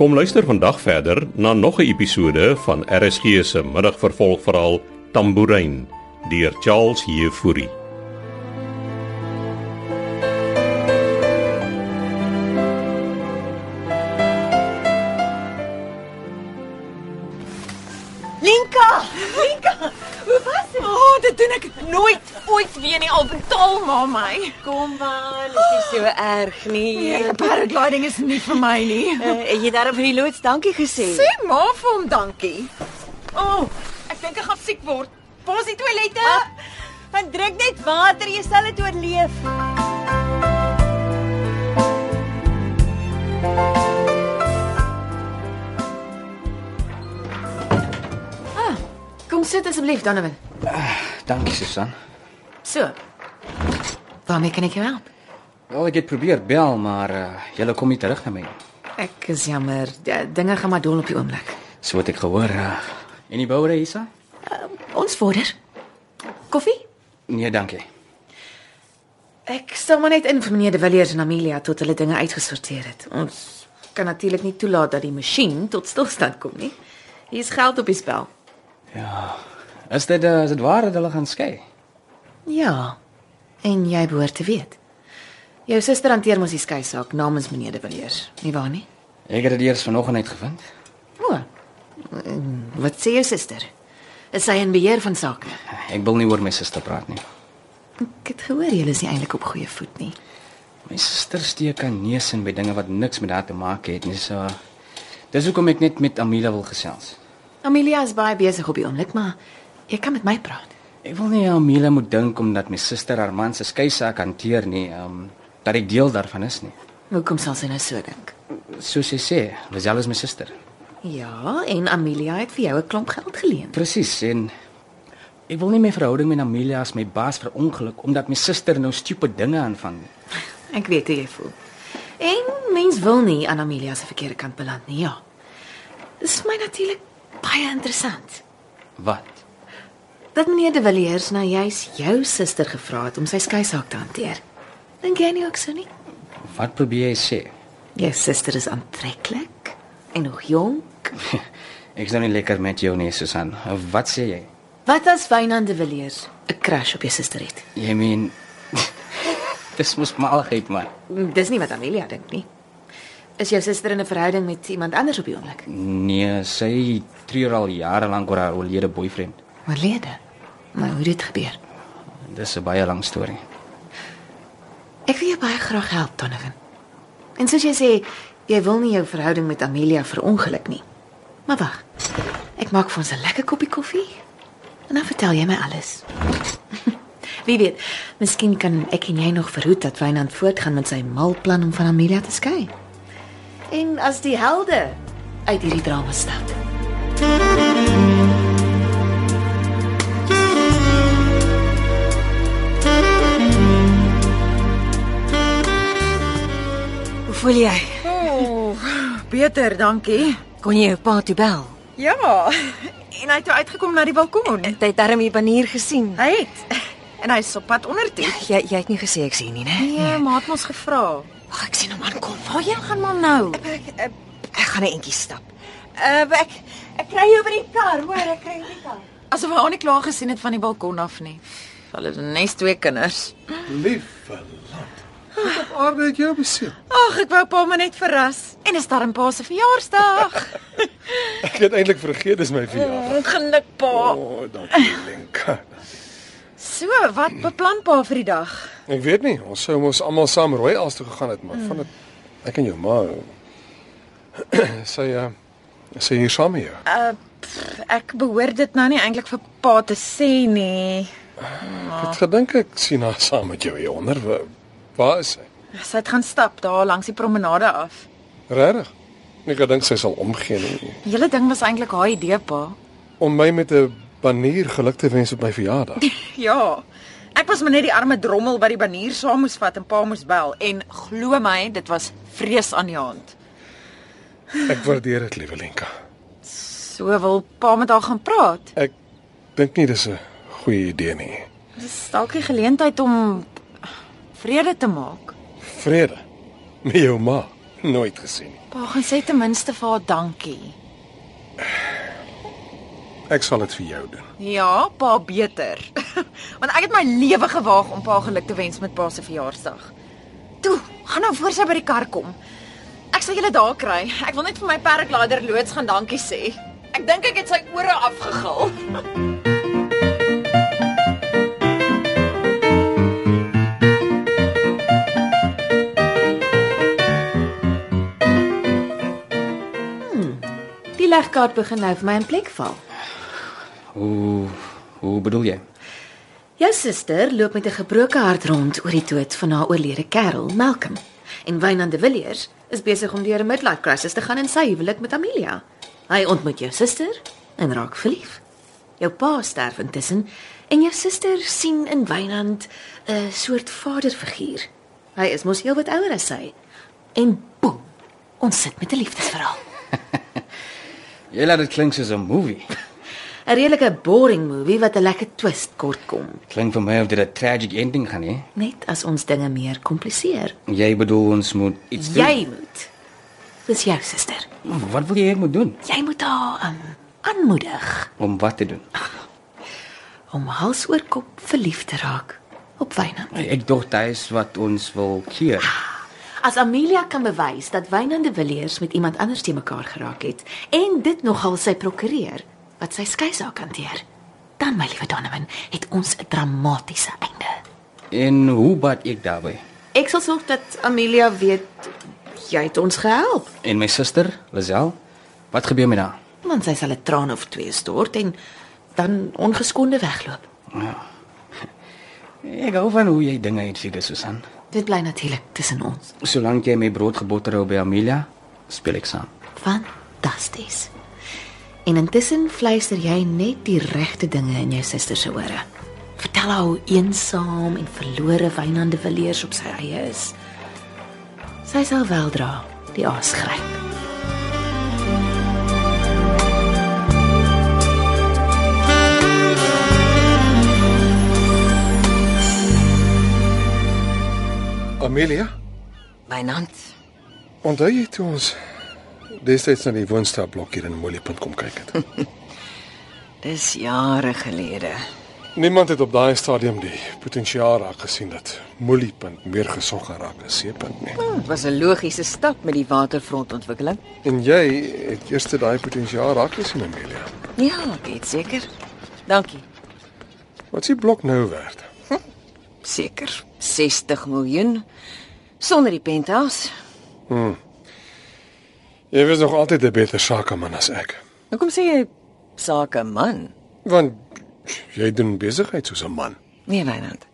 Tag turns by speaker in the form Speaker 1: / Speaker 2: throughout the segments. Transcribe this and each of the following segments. Speaker 1: Kom luister vandag verder na nog 'n episode van RSG se middagvervolgverhaal Tambourine deur Charles Heffury.
Speaker 2: Linka! Linka! Hoe was dit? Oh, dit doen ek nooit ooit weer nie al betaal ma my.
Speaker 3: Kom maar, dit is so erg nie.
Speaker 2: Nee, paragliding is nie vir my nie.
Speaker 3: Eh, het jy daarop vir die loods dankie gesê?
Speaker 2: Sê ma vir hom dankie. O, oh, ek dink ek gaan siek word. Waar is die toilette?
Speaker 3: Ah, Gaan drink net water, jy sal dit oorleef.
Speaker 4: Ah, Kom sit asseblief, Donovan.
Speaker 5: Dankie Susan.
Speaker 4: So. Waarmee kan ek jou help?
Speaker 5: Wel ek het probeer bel, maar uh, jy kom nie terug na my nie.
Speaker 4: Ek is jammer, ja, dinge gaan maar dol op die oomblik.
Speaker 5: So het ek gehoor. Uh, en die bouer hiersa?
Speaker 4: Ons vorder. Koffie?
Speaker 5: Nee, dankie.
Speaker 4: Ek stel maar net in vir meneer De Villiers en Amelia tot hulle dinge uitgesorteer het. Ons kan natuurlik nie toelaat dat die masjien tot stilstand kom nie. Hier is geld op die spel.
Speaker 5: Is dit uh, is dit waar dat hulle gaan skei?
Speaker 4: Ja. En jy behoort te weet. Jou suster hanteer mos die skei saak namens meneer De Villiers, nie waar nie?
Speaker 5: Ek het dit eers vanoggend uitgevind.
Speaker 4: O. en Wat sê jou suster? Is sy in beheer van sake?
Speaker 5: Ek wil nie oor my suster praat nie.
Speaker 4: Ek het gehoor julle is nie eintlik op goeie voet nie.
Speaker 5: My suster steek aan neus in by dinge wat niks met haar te maak het nie. So dis hoekom ek net met Amila wil gesels.
Speaker 4: Amelia is baie besig op die oomblik, maar jy kan met my praat.
Speaker 5: Ek wil nie Amila moet dink omdat my suster haar man se skei saak hanteer nie, um, dat ek deel daarvan is nie.
Speaker 4: Hoekom sal sy nou so dink?
Speaker 5: Soos sy sê, Lisel is my suster.
Speaker 4: Ja, en Amelia het vir jou 'n klomp geld geleen.
Speaker 5: Presies en ek wil nie my verhouding met Amelia as my baas verongeluk omdat my suster nou stupid dinge aanvang nie.
Speaker 4: Ek weet hoe jy voel. En mens wil nie aan Amelia se verkeerde kant beland nie, ja. Dis vir my natuurlik baie interessant
Speaker 5: Wat?
Speaker 4: dat meneer De Villiers nou juis jou suster gevra het om sy skei saak te hanteer. Dink jy nie ook so nie?
Speaker 5: Wat probeer jy sê?
Speaker 4: Jou suster is aantreklik en nog jonk.
Speaker 5: Ek's nou nie lekker met jou nie, Susan. Wat sê jy?
Speaker 4: Wat as Wynand de Villiers 'n crush op jou suster het?
Speaker 5: Jy meen Dis mos malheid man.
Speaker 4: Mm, Dis nie wat Amelia dink nie. Is jou suster in 'n verhouding met iemand anders op die oomblik?
Speaker 5: Nee, sy treur al jare lank oor haar oorlede boyfriend.
Speaker 4: Oorlede. Maar hoe dit gebeur?
Speaker 5: Dis 'n baie lang storie.
Speaker 4: Ek wil jou baie graag help, Donovan. En soos jy sê, jy wil nie jou verhouding met Amelia verongeluk nie. Maar wag. Ek maak vir ons 'n lekker koppie koffie. En dan vertel jy my alles. Wie weet, miskien kan ek en jy nog verhoed dat Wynand voortgaan met sy mal plan om van Amelia te skei. En as die helde uit hierdie drama stap.
Speaker 3: Hoe voel jy?
Speaker 2: Oh, beter, dankie.
Speaker 3: Kon jy jou pa toe bel?
Speaker 2: Ja. En hy het toe uitgekom na die balkon.
Speaker 3: Het hy darm hier banier gesien?
Speaker 2: Hy het. En hy is op pad onder toe.
Speaker 3: Jy jy het nie gesê ek sien nie, né?
Speaker 2: Nee, ma het ons gevra.
Speaker 3: Wag, ek sien hom aankom. Waarheen gaan maar nou?
Speaker 2: Ek eh,
Speaker 3: Ek gaan 'n entjie stap. Uh ek ek kry jou by die kar, hoor, ek kry jou by die kar.
Speaker 2: asof hy haar nie klaar gesien het van die balkon af nie. Hulle het nes twee kinders.
Speaker 6: Lieve land. Wat op aarde het jou beseer?
Speaker 2: Ag, ek wou pa maar net verras. En is darm pa se verjaarsdag.
Speaker 6: Ek het eintlik vergeet dis my verjaardag.
Speaker 2: Ongeluk
Speaker 4: Ja.
Speaker 2: pa.
Speaker 6: O, oh, dankie Lenka.
Speaker 2: So, wat beplan pa vir die dag?
Speaker 6: Ek weet nie, ons sou mos almal saam rooi as toe gegaan het, maar van dit ek en jou ma sê ja, sê hier saam hier.
Speaker 2: Uh pff, ek behoort dit nou nie eintlik vir pa te sê nie.
Speaker 6: Ek het gedink ek sien haar saam met jou hier onder. Wa- Waar is sy?
Speaker 2: Sy het gaan stap daar langs die promenade af.
Speaker 6: Regtig? Ek het gedink sy sal omgee nie.
Speaker 2: Die hele ding was eintlik haar idee pa.
Speaker 6: Om my met 'n banier geluk te wens op my verjaardag.
Speaker 2: Ja. Ek was maar net die arme drommel by die banier saam moes vat en pa moes bel en glo my, dit was vrees aan die hand.
Speaker 6: Ek waardeer dit, liewe Lenka.
Speaker 2: So wil pa met haar gaan praat.
Speaker 6: Ek dink nie dis 'n goeie idee nie.
Speaker 2: Dis dalk die geleentheid om vrede te maak.
Speaker 6: Vrede met jou ma. Nooit gesien nie.
Speaker 2: Pa gaan sê ten minste vir haar dankie.
Speaker 6: Ek sal dit vir jou doen.
Speaker 2: Ja, pa beter. Want ek het my lewe gewaag om pa geluk te wens met pa se verjaarsdag. Toe, gaan nou voor sy by die kar kom. Ek sal julle daar kry. Ek wil net vir my perklader loods gaan dankie sê. Ek dink ek het sy ore afgegil.
Speaker 4: Hmm, Die legkaart begin nou vir my in plek val.
Speaker 5: Hoe hoe bedoel jy?
Speaker 4: Jou suster loop met 'n gebroke hart rond oor die dood van haar oorlede kerel, Malcolm. En Wynand de Villiers is besig om deur 'n midlife crisis te gaan in sy huwelik met Amelia. Hy ontmoet jou suster en raak verlief. Jou pa sterf intussen en jou suster sien in Wynand 'n soort vaderfiguur. Hy is mos heelwat ouer as sy. En boem, ons sit met 'n liefdesverhaal.
Speaker 5: Jy laat dit klink soos 'n movie.
Speaker 4: 'n Redelike boring movie wat 'n lekker twist kort kom,
Speaker 5: Klink vir my of dit 'n tragic ending gaan hê.
Speaker 4: net as ons dinge meer kompliseer.
Speaker 5: Jy bedoel ons moet iets doen.
Speaker 4: Jy moet. Dis jou suster.
Speaker 5: Wat wil jy ek moet doen?
Speaker 4: Jy moet haar um, aanmoedig
Speaker 5: Om wat te doen?
Speaker 4: om hals oor kop verlief te raak op Wynand.
Speaker 5: Ek dink dit is wat ons wil keer.
Speaker 4: As Amelia kan bewys dat Wynand de Villiers met iemand anders te mekaar geraak het en dit nogal sy prokureer wat sy skeisaak hanteer, dan my liewe Donovan, het ons 'n dramatiese einde.
Speaker 5: En hoe baat ek daarbey?
Speaker 4: Ek sal sorg dat Amelia weet jy het ons gehelp,
Speaker 5: En my suster, Lazel, wat gebeur met haar?
Speaker 4: want sy sal 'n traan of twee stort en dan ongeskonde wegloop.
Speaker 5: Ek hou van hoe jy dinge uitfigure, Susan.
Speaker 4: Dit bly natuurlik tussen ons.
Speaker 5: Solank jy my brood geboter hou by Amelia, speel ek saam.
Speaker 4: Fantasties. En intussen fluister jy net die regte dinge in jou suster se ore. Vertel haar hoe eensaam en verlore Wynand de Villiers op sy eie is. Sy sal weldra die aas gryp.
Speaker 6: Amelia,
Speaker 3: Wynand,
Speaker 6: onthou jy toe ons destyds na die woonstelblok hier in Moeliepunt kom kyk het?
Speaker 3: dis jare gelede.
Speaker 6: Niemand het op daai stadium die potensiaal raak gesien dat Moeliepunt meer gesog gaan raak as Seepunt nie.
Speaker 3: Dit was 'n logiese stap met die waterfrontontwikkeling.
Speaker 6: En jy het eers daai potensiaal raak gesien, Amelia.
Speaker 3: Ja, ek weet seker. Dankie.
Speaker 6: Wat is die blok nou werd?
Speaker 3: Seker 60 miljoen sonder die penthouse.
Speaker 6: Jy was nog altyd 'n beter sakeman as ek.
Speaker 3: Hoekom Nou sê jy sake man?
Speaker 6: Want jy doen besigheid soos 'n man.
Speaker 3: Nee, Wynand.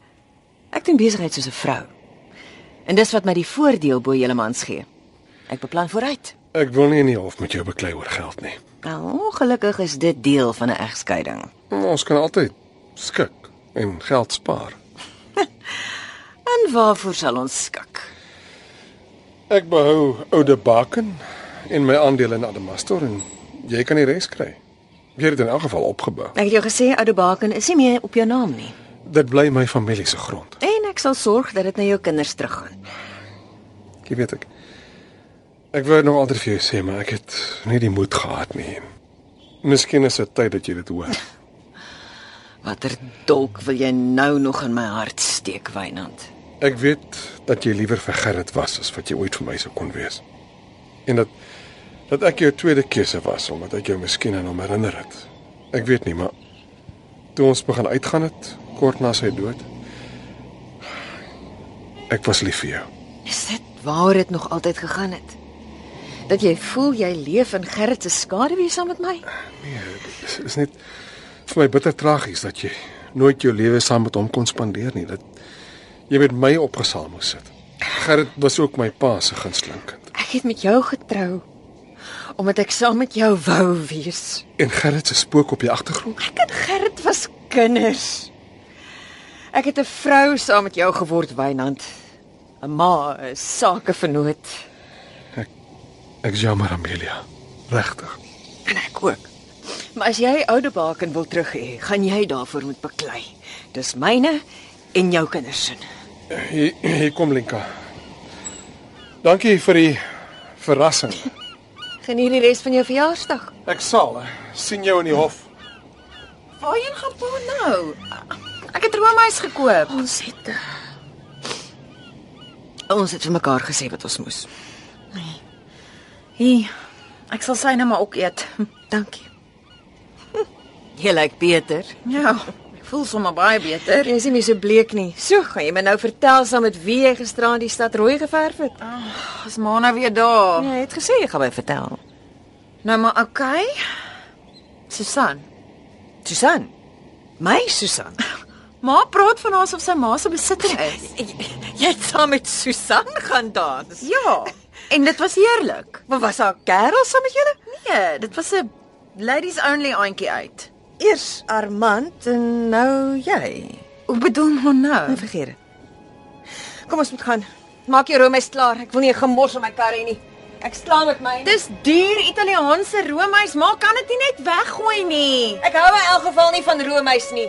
Speaker 3: Ek doen besigheid soos 'n vrou. En dis wat my die voordeel bo julle mans gee. Ek beplan vooruit.
Speaker 6: Ek wil nie in die hof met jou beklei oor geld nie.
Speaker 3: Nou, ongelukkig is dit deel van 'n egskeiding.
Speaker 6: Ons kan altyd skik en geld spaar.
Speaker 3: En waarvoor sal ons skik?
Speaker 6: Ek behou oude baken en my aandele in Adamastor en jy kan die res kry. Jy het dit in elk geval opgebou.
Speaker 3: Ek het jou gesê Oude Baken is nie meer op jou naam nie.
Speaker 6: Dit bly my familie se grond.
Speaker 3: En ek sal sorg dat dit na jou kinders teruggaan.
Speaker 6: Jy weet ek. Ek wou dit nog altyd vir jou sê, maar ek het nie die moed gehad nie. Miskien is dit tyd dat jy dit hoor.
Speaker 3: Watter dolk wil jy nou nog in my hart steek, Wynand?
Speaker 6: Ek weet dat jy liewer vir Gerrit was as wat jy ooit vir my sou kon wees. En dat dat ek jou tweede keuse was omdat ek jou miskien aan hom herinner het. Ek weet nie, maar toe ons begin uitgaan het kort na sy dood, ek was lief vir jou.
Speaker 3: Is dit waar dit nog altyd gegaan het? Dat jy voel jy leef in Gerrit se skaduwee saam met my?
Speaker 6: Dit is net vir my bitter tragies dat jy nooit jou lewe saam met hom kon spandeer nie. Dat jy met my opgesaal moes sit. Gerrit was ook my pa se gunsteling kind.
Speaker 3: Ek het met jou getrou omdat ek saam met jou wou wees.
Speaker 6: En Gerrit se spook op die agtergrond.
Speaker 3: Ek en Gerrit was kinders. Ek het 'n vrou saam met jou geword, Wynand. 'n Ma, 'n sakevernoot
Speaker 6: Ek is jammer Amelia. Regtig.
Speaker 3: en ek ook. Maar as jy oude baken wil terug hê, gaan jy daarvoor moet beklei. Dis myne en jou kinders se.
Speaker 6: Hier, hier kom Lenka. Dankie vir die Verrassing.
Speaker 3: Geniet die res van jou verjaarsdag.
Speaker 6: Ek sal hè. sien jou in die hof.
Speaker 2: Waarheen gaan pa nou? Ek het roomys gekoop.
Speaker 4: Ons het eh,
Speaker 3: Ons het vir mekaar gesê wat ons moes.
Speaker 2: Hier. Ek sal syne maar ook eet.
Speaker 3: Dankie. Jy lyk beter.
Speaker 2: Ja, ek voel sommer baie beter.
Speaker 3: Jy is nie meer so bleek nie. So, gaan jy my nou vertel saam met wie jy gisteraand die stad rooi geverf het?
Speaker 2: Ah, Is Mana weer daar?
Speaker 3: Jy het gesê jy gaan my vertel.
Speaker 2: Nou maar okay. Susan.
Speaker 3: Susan. My Susan.
Speaker 2: Ma praat van haar asof sy ma se besitting is.
Speaker 3: Jy het saam met Susan gaan dans.
Speaker 2: Ja. En dit was heerlik.
Speaker 3: Maar was haar kerel saam met julle?
Speaker 2: Nee, dit was 'n ladies only aantjie uit.
Speaker 3: Eers Armand en nou jy. Nee,
Speaker 2: Hoe bedoel ma nou?
Speaker 3: vergeet dit. Kom ons moet gaan. Maak jou roomys klaar. Ek wil nie 'n gemors in my kar hê nie. Ek slaan met my.
Speaker 2: Dis duur Italiaanse roomys, maar kan dit nie net weggooi nie.
Speaker 3: Ek hou in elk geval nie van roomys nie.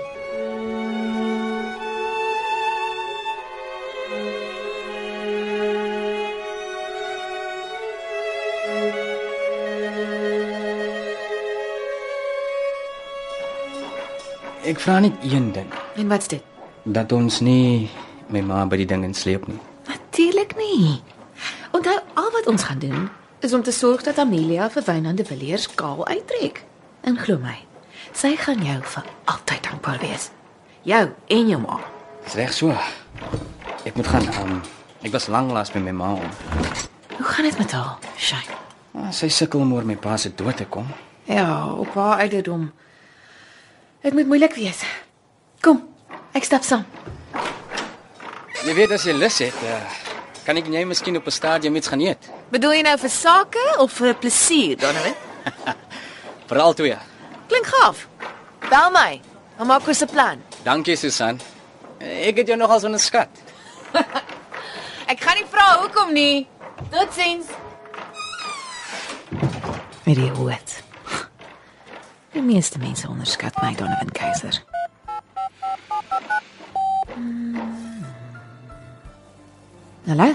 Speaker 5: Ek vra net een ding,
Speaker 4: en wat's dit?
Speaker 5: dat ons nie my ma by die ding insleep nie.
Speaker 4: Natuurlik nie. Onthou al wat ons gaan doen is om te sorg dat Amelia vir Wynand de Villiers kaal uittrek. En glo my, sy gaan jou vir altyd dankbaar wees. Jou en jou ma.
Speaker 5: Dis reg so. Ek moet gaan. Um, ek was lank laas by my ma. om.
Speaker 4: Hoe gaan dit met haar? Shine.
Speaker 5: Ah, Sy sukkel om oor my pa se dood te kom.
Speaker 4: Ja, op haar ouderdom. Dit moet moeilik wees. Kom, ek stap saam.
Speaker 5: Jy weet as jy lus het, uh, kan ek en jy miskien op 'n stadium iets gaan eet.
Speaker 2: Bedoel jy nou vir sake of eh, vir plesier, Donovan?
Speaker 5: Veral twee.
Speaker 2: Klink gaaf. Bel my. Dan maak ons 'n plan.
Speaker 5: Dankie Susan. Ek het jou nogals onderskat.
Speaker 2: Ek gaan nie vra hoekom nie. Totsiens.
Speaker 4: Met die hoed. Die meeste mense onderskat my Donovan Keiser. Hmm. Hallo.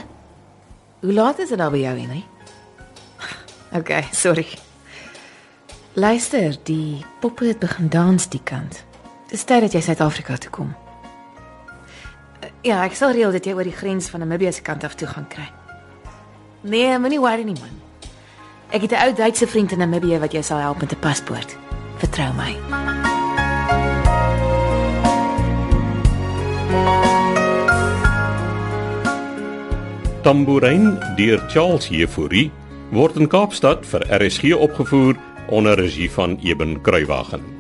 Speaker 4: Hoe laat is dit al by jou, Henry? Okay, sorry. Luister, die poppe het begin dans die kant. Dis tyd dat jy Suid-Afrika toe kom. Eh, Ja, ek sal reël dat jy oor die grens van Namibië se kant af toe gaan kry. Nee, moenie worry nie man. Ek het 'n ou Duitse vriend in Namibië wat jou sal help met 'n paspoort. Vertrou my.
Speaker 1: Tambourijn deur Charles Jefouri word in Kaapstad vir RSG opgevoer onder regie van Eben Kruiwagen.